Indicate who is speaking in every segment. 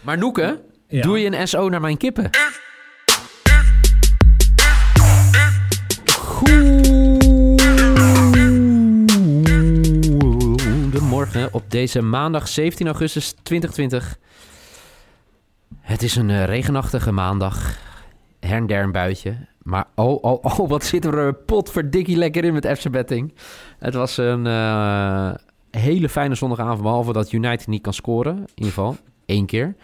Speaker 1: Maar Noeke,
Speaker 2: Ja.
Speaker 1: doe je een SO naar mijn kippen? Goedemorgen op deze maandag 17 augustus 2020. Het is een eh, regenachtige maandag. Her en der een buitje. Maar oh, oh, oh, wat zitten we er potverdikkie lekker in met FC Betting. Het was een eh, hele fijne zondagavond, behalve dat United niet kan scoren. In ieder geval, één keer.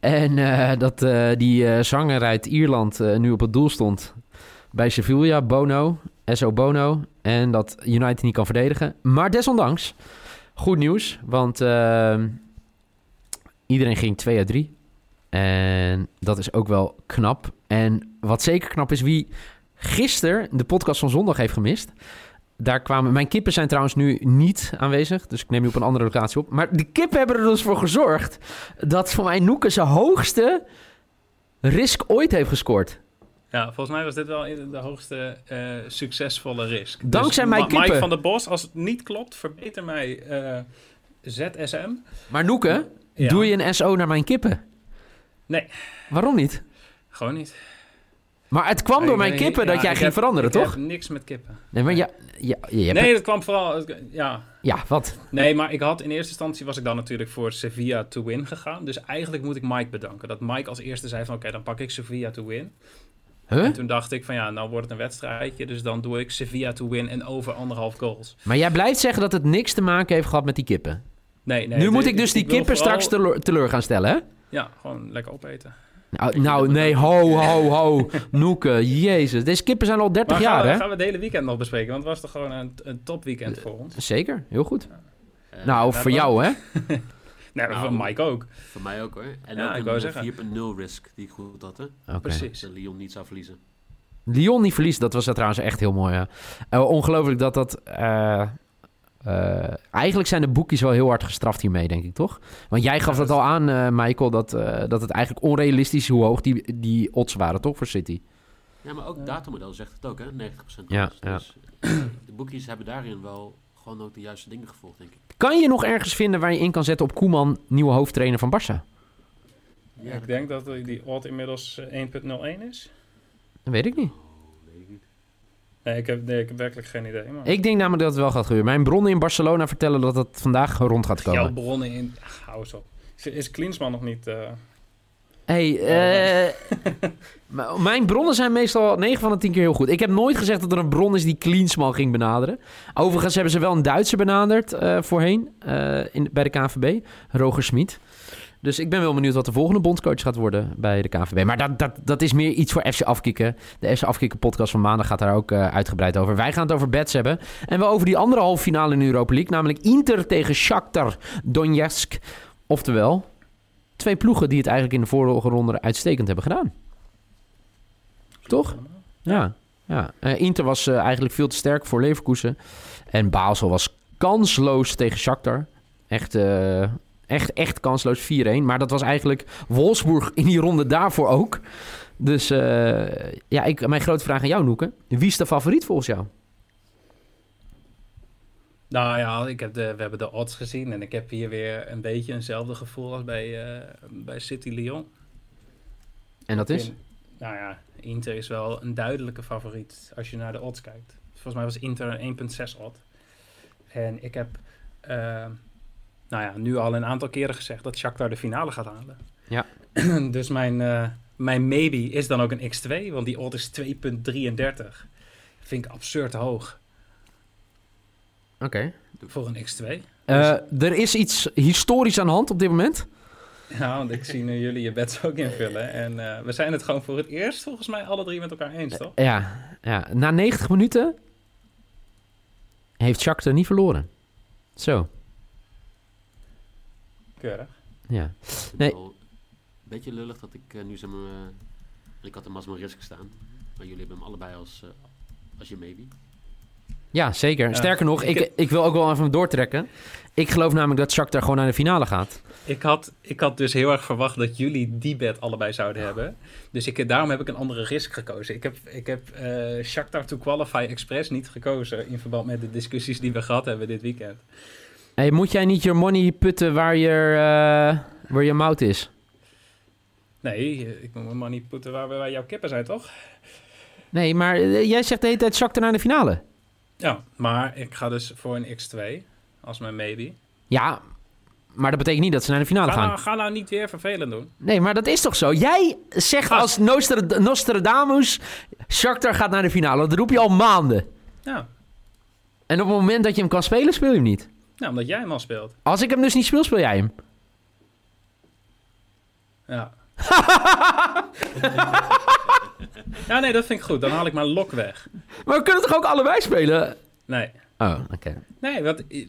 Speaker 1: En eh, dat eh, die eh, zanger uit Ierland eh, nu op het doel stond bij Sevilla, Bono, SO Bono. En dat United niet kan verdedigen. Maar desondanks, goed nieuws, want eh, iedereen ging 2 uit 3. En dat is ook wel knap. En wat zeker knap is, wie gisteren de podcast van zondag heeft gemist. Daar kwamen, mijn kippen zijn trouwens nu niet aanwezig, dus ik neem die op een andere locatie op. Maar de kippen hebben er dus voor gezorgd dat voor mij Noeke zijn hoogste risk ooit heeft gescoord.
Speaker 3: Ja, volgens mij was dit wel in de hoogste eh, succesvolle risk. Dus
Speaker 1: Dankzij mijn
Speaker 3: Ma- Mike
Speaker 1: kippen.
Speaker 3: van der Bos, als het niet klopt, verbeter mij eh, ZSM.
Speaker 1: Maar Noeke,
Speaker 2: Ja.
Speaker 1: doe je een SO naar mijn kippen?
Speaker 3: Nee.
Speaker 1: Waarom niet?
Speaker 3: Gewoon niet.
Speaker 1: Maar het kwam door
Speaker 3: Ik-
Speaker 1: mijn
Speaker 3: ik-
Speaker 1: kippen
Speaker 3: ja,
Speaker 1: dat jij
Speaker 3: ik
Speaker 1: ging
Speaker 3: heb-
Speaker 1: veranderen,
Speaker 3: ik
Speaker 1: toch?
Speaker 3: heb niks met kippen.
Speaker 1: Nee, maar ja, ja, je hebt
Speaker 3: nee,
Speaker 1: het-
Speaker 3: dat kwam vooral... Ja,
Speaker 1: ja, wat?
Speaker 3: Nee, maar ik had in eerste instantie was ik dan natuurlijk voor Sevilla to win gegaan. Dus eigenlijk moet ik Mike bedanken. Dat Mike als eerste zei van oké, dan pak ik Sevilla to win.
Speaker 1: Huh?
Speaker 3: En toen dacht ik van ja, nou wordt het een wedstrijdje. Dus dan doe ik Sevilla to win en over anderhalf goals.
Speaker 1: Maar jij blijft zeggen dat het niks te maken heeft gehad met die kippen.
Speaker 3: Nee, nee.
Speaker 1: nu
Speaker 3: het-
Speaker 1: moet ik dus die
Speaker 3: wil
Speaker 1: kippen
Speaker 3: vooral-
Speaker 1: straks teleur, teleur gaan stellen, hè?
Speaker 3: Ja, gewoon lekker opeten.
Speaker 1: Nou, nou, nee, ho, ho, ho. Noeke, jezus. Deze kippen zijn al 30
Speaker 3: Maar
Speaker 1: jaar,
Speaker 3: gaan, we,
Speaker 1: hè?
Speaker 3: gaan we het hele weekend nog bespreken. Want het was toch gewoon een, een topweekend voor ons.
Speaker 1: Zeker, heel goed. Nou,
Speaker 4: Eh,
Speaker 3: ja,
Speaker 1: voor
Speaker 3: dat-
Speaker 1: jou, hè?
Speaker 3: Nee, maar voor
Speaker 4: Nou,
Speaker 3: Mike ook.
Speaker 4: Voor mij ook hoor. En
Speaker 3: Ja,
Speaker 4: ook
Speaker 3: ik
Speaker 4: een
Speaker 3: wou
Speaker 4: eh,
Speaker 3: zeggen.
Speaker 4: 4.0 risk die ik goed had. Hè?
Speaker 1: Oké.
Speaker 3: Precies.
Speaker 4: Dat Lyon niet zou verliezen.
Speaker 1: Lyon niet verliest, dat was trouwens echt heel mooi. ja. Eh, ongelooflijk dat dat... eh, eh, eigenlijk zijn de boekjes wel heel hard gestraft hiermee, denk ik, toch? Want jij gaf
Speaker 3: Ja,
Speaker 1: dat
Speaker 3: dat-
Speaker 1: al aan, eh, Michael, dat, eh, dat het eigenlijk onrealistisch is hoe hoog die, die odds waren, toch, voor City?
Speaker 4: Ja, maar ook datamodel zegt het ook, hè? 90% kans.
Speaker 1: Ja, ja.
Speaker 4: Dus eh, de boekjes hebben daarin wel gewoon ook de juiste dingen gevolgd, denk ik.
Speaker 1: Kan je nog ergens vinden waar je in kan zetten op Koeman, nieuwe hoofdtrainer van Barça?
Speaker 4: Ja,
Speaker 3: ik denk dat die odd inmiddels eh, 1.01 is.
Speaker 1: Dat weet ik niet.
Speaker 3: Nee ik, heb, nee, ik heb werkelijk geen idee. Maar...
Speaker 1: Ik denk namelijk dat het wel gaat gebeuren. Mijn bronnen in Barcelona vertellen dat het vandaag rond gaat komen.
Speaker 3: Jouw bronnen in... Ach, hou eens op. Is- Is Klinsman nog niet... eh,
Speaker 1: Hey, eh, m- mijn bronnen zijn meestal 9 van de 10 keer heel goed. Ik heb nooit gezegd dat er een bron is die Klinsman ging benaderen. Overigens hebben ze wel een Duitse benaderd eh, voorheen eh, in, bij de KNVB, Roger Smit. Dus ik ben wel benieuwd wat de volgende bondcoach gaat worden bij de KNVB. Maar dat, dat, dat is meer iets voor FC Afkikken. De FC Afkikken podcast van maandag gaat daar ook eh, uitgebreid over. Wij gaan het over bets hebben. En wel over die andere halve finale in de Europa League. Namelijk Inter tegen Shakhtar Donetsk. Oftewel, twee ploegen die het eigenlijk in de vorige ronde uitstekend hebben gedaan. Toch? Ja. ja. Eh, Inter was eh, eigenlijk veel te sterk voor Leverkusen. En Basel was kansloos tegen Shakhtar. Echt, eh, echt, echt kansloos 4-1. Maar dat was eigenlijk Wolfsburg in die ronde daarvoor ook. Dus eh, ja, ik, mijn grote vraag aan jou, Noeke. Wie is de favoriet volgens jou?
Speaker 3: Nou ja, ik heb de, we hebben de odds gezien en ik heb hier weer een beetje eenzelfde gevoel als bij, eh, bij City Lyon.
Speaker 1: En dat is?
Speaker 3: In- nou ja, Inter is wel een duidelijke favoriet als je naar de odds kijkt. Volgens mij was Inter een 1.6 odd. En ik heb eh, nou ja, nu al een aantal keren gezegd dat Shakhtar de finale gaat halen.
Speaker 1: Ja.
Speaker 3: dus mijn, eh, mijn maybe is dan ook een X2, want die odd is 2.33. Vind ik absurd hoog
Speaker 1: Oké. Dus-
Speaker 3: voor een X2.
Speaker 1: Eh, er is iets historisch aan de hand op dit moment.
Speaker 3: Ja, want ik zie nu jullie je bets ook invullen. En eh, we zijn het gewoon voor het eerst volgens mij alle drie met elkaar eens, toch?
Speaker 1: Ja, ja, na 90 minuten heeft Shakhtar niet verloren. Zo,
Speaker 3: Keurig.
Speaker 1: ja.
Speaker 4: Ik vind
Speaker 1: Nee.
Speaker 4: het wel Een beetje lullig dat ik eh, nu zeg maar... eh, ik had de Masma Risk staan. Maar jullie hebben hem allebei als, eh, als je maybe.
Speaker 1: Ja, zeker.
Speaker 3: Ja.
Speaker 1: Sterker nog, ik,
Speaker 3: Ik-
Speaker 1: ik wil ook wel even doortrekken. Ik geloof namelijk dat Shakhtar gewoon naar de finale gaat.
Speaker 3: Ik had, ik had dus heel erg verwacht dat jullie die bet allebei zouden hebben. Dus ik, daarom heb ik een andere risk gekozen. Ik heb, ik heb eh Shakhtar to Qualify Express niet gekozen in verband met de discussies die we gehad hebben dit weekend.
Speaker 1: Hey, moet jij niet je money putten waar je, eh, waar je mout is?
Speaker 3: Nee, eh, ik moet mijn money putten waar, waar jouw kippen zijn, toch?
Speaker 1: Nee, maar eh, jij zegt de hele tijd zakte naar de finale.
Speaker 3: Ja, maar ik ga dus voor een X2 als mijn maybe.
Speaker 1: Ja, maar dat betekent niet dat ze naar de finale
Speaker 3: Ga
Speaker 1: Ah, gaan.
Speaker 3: nou, ga nou niet weer vervelend doen.
Speaker 1: Nee, maar dat is toch zo? Jij zegt
Speaker 3: Gast.
Speaker 1: als Nostra- Nostradamus... Shakhtar gaat naar de finale. Dat roep je al maanden.
Speaker 3: Ja,
Speaker 1: En op het moment dat je hem kan spelen, speel je hem niet.
Speaker 3: nou, omdat jij hem al speelt.
Speaker 1: Als ik hem dus niet speel, speel jij hem.
Speaker 3: Ja. ja, nee, dat vind ik goed. Dan haal ik mijn lok weg.
Speaker 1: Maar we kunnen toch ook allebei spelen?
Speaker 3: Nee.
Speaker 1: Oh, oké.
Speaker 3: Nee, want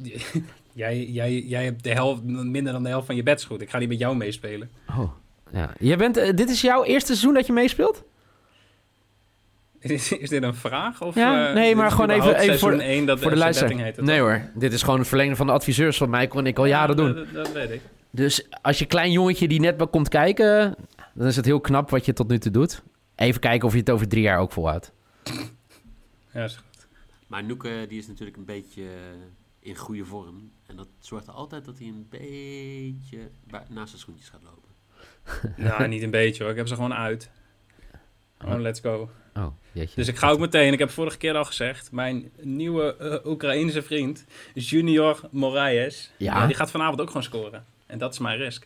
Speaker 3: jij, jij, jij hebt de helft, minder dan de helft van je bets goed. Ik ga niet met jou meespelen.
Speaker 1: Oh, ja. Jij bent, eh, dit is jouw eerste seizoen dat je meespeelt?
Speaker 3: Is, is dit een vraag? Of,
Speaker 1: Ja,
Speaker 3: eh,
Speaker 1: nee,
Speaker 3: dit
Speaker 1: maar
Speaker 3: is
Speaker 1: gewoon even-
Speaker 3: überhaupt
Speaker 1: even voor de-
Speaker 3: seizoen één dat
Speaker 1: voor de
Speaker 3: FC
Speaker 1: luisteraar.
Speaker 3: Betting heet het
Speaker 1: Nee
Speaker 3: toch?
Speaker 1: hoor, dit is gewoon het verlengde van de adviseurs van mij. Kon ik al jaren
Speaker 3: Ja,
Speaker 1: doen.
Speaker 3: Dat, dat weet ik.
Speaker 1: Dus als je klein jongetje die net komt kijken... dan is het heel knap wat je tot nu toe doet. Even kijken of je het over drie jaar ook volhoudt.
Speaker 3: Ja, is goed.
Speaker 4: Maar Noeke eh, die is natuurlijk een beetje eh, in goede vorm. En dat zorgt er altijd dat hij een beetje ba- naast zijn schoentjes gaat lopen.
Speaker 3: nou, niet een beetje hoor. Ik heb ze gewoon uit. Gewoon let's go.
Speaker 1: Oh, jeetje.
Speaker 3: Dus ik ga ook meteen, ik heb vorige keer al gezegd, mijn nieuwe eh, Oekraïense vriend, Junior Moraes,
Speaker 1: Ja.
Speaker 3: die gaat vanavond ook gewoon scoren. En dat is mijn risk.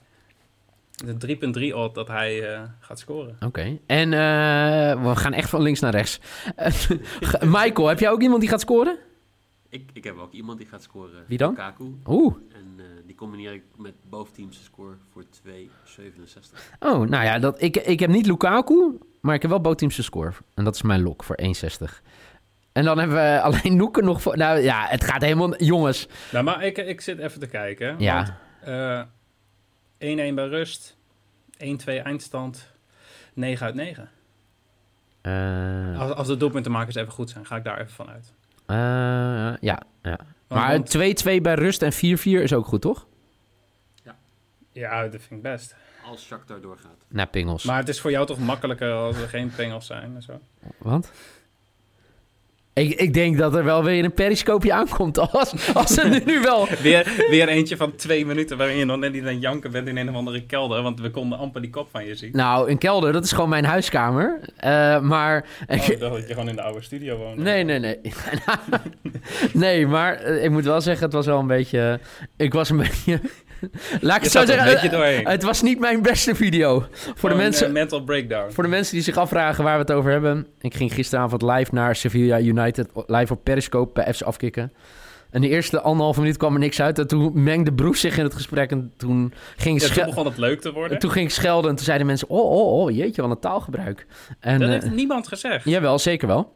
Speaker 3: De 3.3 odd dat hij eh, gaat scoren.
Speaker 1: Oké. En eh, we gaan echt van links naar rechts. Michael, heb jij ook iemand die gaat scoren?
Speaker 4: Ik, ik heb ook iemand die gaat scoren.
Speaker 1: Wie dan?
Speaker 4: Kaku.
Speaker 1: Oeh.
Speaker 4: En eh, die combineer ik met boventeams score voor 2,67.
Speaker 1: Oh, nou ja, dat, ik, ik heb niet Lukaku, maar ik heb wel bootteamse score. En dat is mijn lok voor 1,60. En dan hebben we alleen Noeken nog voor... Nou ja, het gaat helemaal... Jongens.
Speaker 3: Nou, maar ik, ik zit even te kijken. want,
Speaker 1: Ja.
Speaker 3: eh, 1-1 bij rust, 1-2 eindstand, 9 uit 9.
Speaker 1: Eh,
Speaker 3: Als, als de doelpuntenmakers even goed zijn, ga ik daar even van uit.
Speaker 1: eh, ja, ja.
Speaker 3: Want-
Speaker 1: Maar 2-2
Speaker 3: want-
Speaker 1: bij rust en 4-4 is ook goed, toch?
Speaker 3: ja, dat vind ik best.
Speaker 4: Als Shakhtar doorgaat.
Speaker 1: Nou, pingels.
Speaker 3: Maar het is voor jou toch makkelijker als er geen pingels zijn en zo.
Speaker 1: Want? Ik, ik denk dat er wel weer een periscoopje aankomt. Als, als er nu, nu wel...
Speaker 3: Weer, weer eentje van twee minuten waarin je nog net niet aan het janken bent in een of andere kelder. Want we konden amper die kop van je zien.
Speaker 1: Nou, een kelder, dat is gewoon mijn huiskamer. Eh, maar...
Speaker 3: Oh, ik dacht dat je gewoon in de oude studio woonde.
Speaker 1: Nee, nee, nee. nee, maar eh, ik moet wel zeggen, het was wel een beetje... eh, Ik was een beetje... Laat ik
Speaker 3: Je
Speaker 1: het zo
Speaker 3: zat er
Speaker 1: zeggen.
Speaker 3: een beetje
Speaker 1: eh,
Speaker 3: doorheen.
Speaker 1: het was niet mijn beste video. Voor de,
Speaker 3: Gewoon,
Speaker 1: mensen,
Speaker 3: eh, mental breakdown.
Speaker 1: voor de mensen die zich afvragen waar we het over hebben. Ik ging gisteravond live naar Sevilla United. Live op Periscope bij FC Afkikken. En de eerste anderhalve minuut kwam er niks uit. En toen mengde Broes zich in het gesprek. En toen ging,
Speaker 3: Ja,
Speaker 1: schel-
Speaker 3: toen begon het leuk te worden.
Speaker 1: en toen ging ik schelden. En toen zeiden mensen... Oh, oh, oh, jeetje, wat een taalgebruik. En,
Speaker 3: dat
Speaker 1: eh,
Speaker 3: heeft niemand gezegd.
Speaker 1: jawel, zeker wel.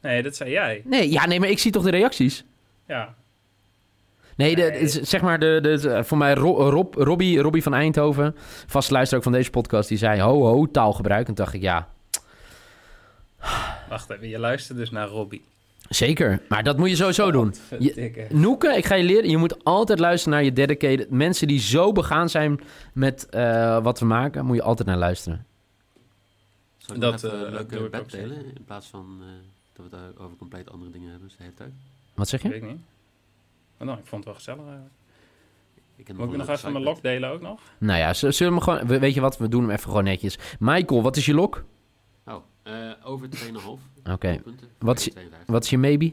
Speaker 3: Nee, dat zei jij.
Speaker 1: Nee, ja, nee, maar ik zie toch de reacties.
Speaker 3: Ja.
Speaker 1: Nee, de,
Speaker 3: Nee.
Speaker 1: z- zeg maar, de, de, de- voor mij Ro- eh, Rob, Robbie, Robbie van Eindhoven, vast luister ook van deze podcast, die zei ho ho, taalgebruik. En toen dacht ik, ja,
Speaker 3: Wacht even, je luistert dus naar Robbie. Oh,
Speaker 1: zeker. Maar dat moet je sowieso doen.
Speaker 3: Verdikke.
Speaker 1: Noeke, ik ga je leren, je moet altijd luisteren naar je dedicated. Mensen die zo begaan zijn met eh, wat we maken, moet je altijd naar luisteren.
Speaker 4: Zal ik
Speaker 3: Dat,
Speaker 4: dat, even
Speaker 3: eh,
Speaker 4: een
Speaker 3: doe
Speaker 4: leuke
Speaker 3: ik ook
Speaker 4: bed
Speaker 3: zeker.
Speaker 4: delen? In plaats van eh, dat we het over compleet andere dingen hebben. Dus de hele tijd.
Speaker 1: Wat zeg
Speaker 3: Weet
Speaker 1: je?
Speaker 3: ik niet. Maar nou, ik vond het wel gezellig eigenlijk.
Speaker 4: Ik heb
Speaker 3: Moet ik
Speaker 4: een
Speaker 3: nog
Speaker 4: leuke
Speaker 3: even mijn
Speaker 4: sidebed.
Speaker 3: lok delen ook nog?
Speaker 1: Nou ja, z- zullen we gewoon, we- weet je wat, we doen hem even gewoon netjes. Michael, wat is je lok?
Speaker 4: Oh, eh, over 2,5.
Speaker 1: Oké,
Speaker 4: punten.
Speaker 1: Wat is- wat is je maybe?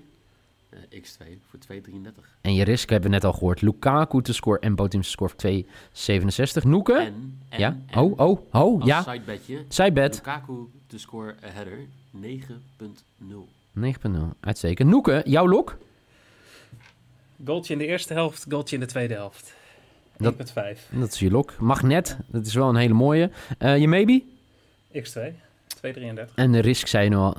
Speaker 4: X2 Eh, voor 2,33.
Speaker 1: En je risk hebben we net al gehoord. Lukaku te scoren en Botim te scoren voor 2,67. Noeke?
Speaker 4: En, en,
Speaker 1: ja?
Speaker 4: en
Speaker 1: Oh, oh, oh,
Speaker 4: als
Speaker 1: ja.
Speaker 4: sidebedje,
Speaker 1: Zijbed
Speaker 4: Lukaku te score a header 9.0.
Speaker 1: 9.0. Uitstekend. Noeke, jouw lok?
Speaker 3: Goaltje in de eerste helft, goaltje in de tweede helft.
Speaker 1: Dat-
Speaker 3: 1.5.
Speaker 1: Dat is je lok. Magnet, dat is wel een hele mooie. Eh, je maybe?
Speaker 3: X2. 2.33.
Speaker 1: En de risk zei je nu al.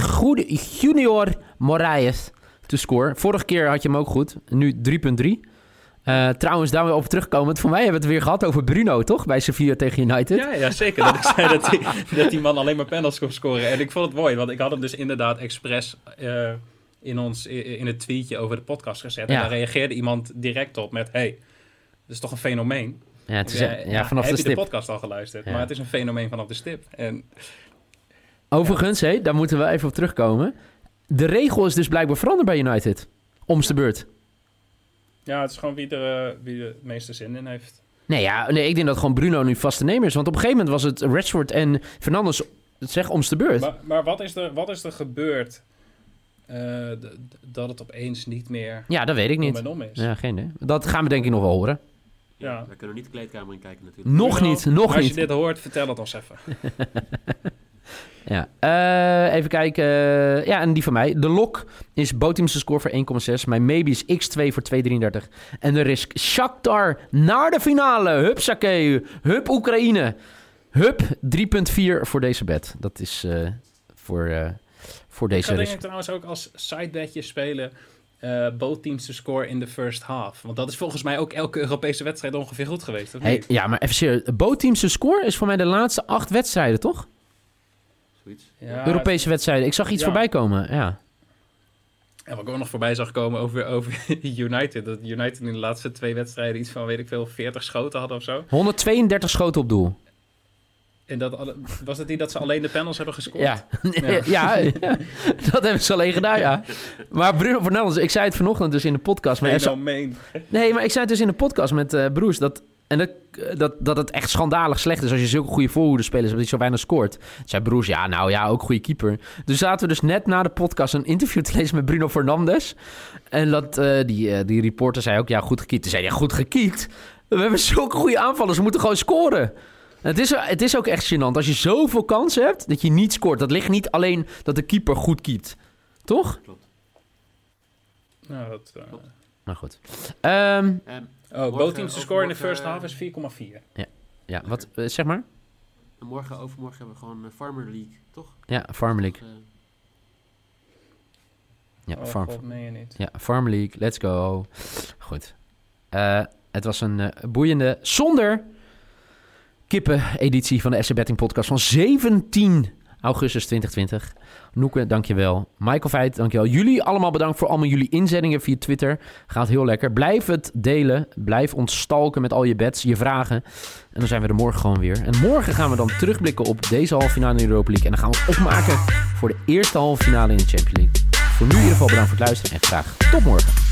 Speaker 1: Goede junior Moraes te score. Vorige keer had je hem ook goed. Nu 3.3. Eh, trouwens, daar weer op terugkomend. Voor mij hebben we het weer gehad over Bruno, toch? Bij Sevilla tegen United.
Speaker 3: Ja, ja, zeker. Dat ik zei dat die, dat die man alleen maar panels kon scoren. En ik vond het mooi, want ik had hem dus inderdaad expres eh, in, ons, i- in het tweetje over de podcast gezet.
Speaker 1: Ja.
Speaker 3: En daar reageerde iemand direct op met... hey, dat is toch een fenomeen?
Speaker 1: Ja, het is,
Speaker 3: Ik
Speaker 1: ja,
Speaker 3: zei, "Ja,
Speaker 1: vanaf
Speaker 3: heb
Speaker 1: de
Speaker 3: je
Speaker 1: stip.
Speaker 3: de podcast al geluisterd?
Speaker 1: Ja.
Speaker 3: Maar het is een fenomeen vanaf de stip. En
Speaker 1: Overigens, hé, daar moeten we even op terugkomen. De regel is dus blijkbaar veranderd bij United. Omste beurt.
Speaker 3: ja, het is gewoon wie er, eh, wie er het meeste zin in heeft.
Speaker 1: Nee, ja, nee, ik denk dat gewoon Bruno nu vaste nemer is. Want op een gegeven moment was het Rashford en Fernandes, zeg, om's de beurt.
Speaker 3: Maar, maar wat, is er, wat is er gebeurd eh, d- d- dat het opeens niet meer
Speaker 1: ja, dat weet ik
Speaker 3: om
Speaker 1: niet.
Speaker 3: en om is?
Speaker 1: Ja, geen idee. Dat gaan we denk ik nog wel horen.
Speaker 3: Ja.
Speaker 4: We kunnen niet de kleedkamer in kijken natuurlijk.
Speaker 1: Nog
Speaker 3: Bruno,
Speaker 1: niet, nog
Speaker 3: als
Speaker 1: niet.
Speaker 3: je dit hoort, vertel het ons even.
Speaker 1: Ja, eh, even kijken. Eh, ja, en die van mij. De lok is Botimse score voor 1,6. Mijn maybe is X2 voor 2,33. En de risk Shakhtar naar de finale. Hup Sakeu. Hup Oekraïne. Hup 3,4 voor deze bet. Dat is eh, voor, eh, voor
Speaker 3: Ik
Speaker 1: deze
Speaker 3: ga denk
Speaker 1: risk.
Speaker 3: ik trouwens ook als sidebedje spelen. eh both teams to score in the first half. Want dat is volgens mij ook elke Europese wedstrijd ongeveer goed geweest. Of
Speaker 1: Hey,
Speaker 3: niet?
Speaker 1: ja, maar even serieus. Botimse score is voor mij de laatste acht wedstrijden, toch?
Speaker 4: Zoiets.
Speaker 3: Ja,
Speaker 1: Europese wedstrijden. Ik zag iets
Speaker 3: Ja.
Speaker 1: voorbij komen. Ja.
Speaker 3: En wat ik ook nog voorbij zag komen over, over United. Dat United in de laatste twee wedstrijden iets van, weet ik veel, 40 schoten hadden of zo.
Speaker 1: 132 schoten op doel.
Speaker 3: En dat, alle- was het niet dat ze alleen de panels hebben gescoord?
Speaker 1: Ja.
Speaker 3: Ja.
Speaker 1: ja, dat hebben ze alleen gedaan, ja. Maar Bruno Fernandes, ik zei het vanochtend dus in de podcast. Maar
Speaker 3: Nee,
Speaker 1: FC
Speaker 3: nou, meen.
Speaker 1: Nee, maar ik zei het dus in de podcast met eh Broes. Dat, en dat, dat, dat het echt schandalig slecht is als je zulke goede voorhoedenspelers hebt die zo weinig scoort. Toen zei Broes, ja, nou ja, ook goede keeper. Dus zaten we dus net na de podcast een interview te lezen met Bruno Fernandes. En dat, eh, die, eh, die reporter zei ook, ja, goed gekiept. Toen zei hij, ja, goed gekiept. We hebben zulke goede aanvallers, we moeten gewoon scoren. En Het is, het is ook echt gênant. Als je zoveel kansen hebt dat je niet scoort. Dat ligt niet alleen dat de keeper goed keept. Toch?
Speaker 4: Klopt.
Speaker 3: Nou, dat, eh,
Speaker 4: Klopt.
Speaker 1: Maar goed. Ehm,
Speaker 4: Ehm,
Speaker 3: oh, both teams to score
Speaker 4: Morgen,
Speaker 3: in the
Speaker 4: overmorgen,
Speaker 3: first half is 4,4.
Speaker 1: ja, wat, eh, zeg maar.
Speaker 4: en morgen, overmorgen hebben we gewoon eh, Farmer League, toch?
Speaker 1: Ja, Farm League.
Speaker 4: Eh,
Speaker 1: Ja,
Speaker 3: oh,
Speaker 1: farm,
Speaker 3: God, meen je niet.
Speaker 1: ja, Farm League, let's go. Goed. Eh, het was een eh, boeiende, zonder kippen editie van de SC Betting Podcast van 17 augustus 2020. Noeke, dankjewel. Michael Veit, dankjewel. Jullie allemaal bedankt voor allemaal jullie inzendingen via Twitter. Gaat heel lekker. Blijf het delen. Blijf ons stalken met al je bets, je vragen. En dan zijn we er morgen gewoon weer. En morgen gaan we dan terugblikken op deze halve finale in de Europa League. En dan gaan we ons opmaken voor de eerste halve finale in de Champions League. Voor nu in ieder geval bedankt voor het luisteren en graag tot morgen.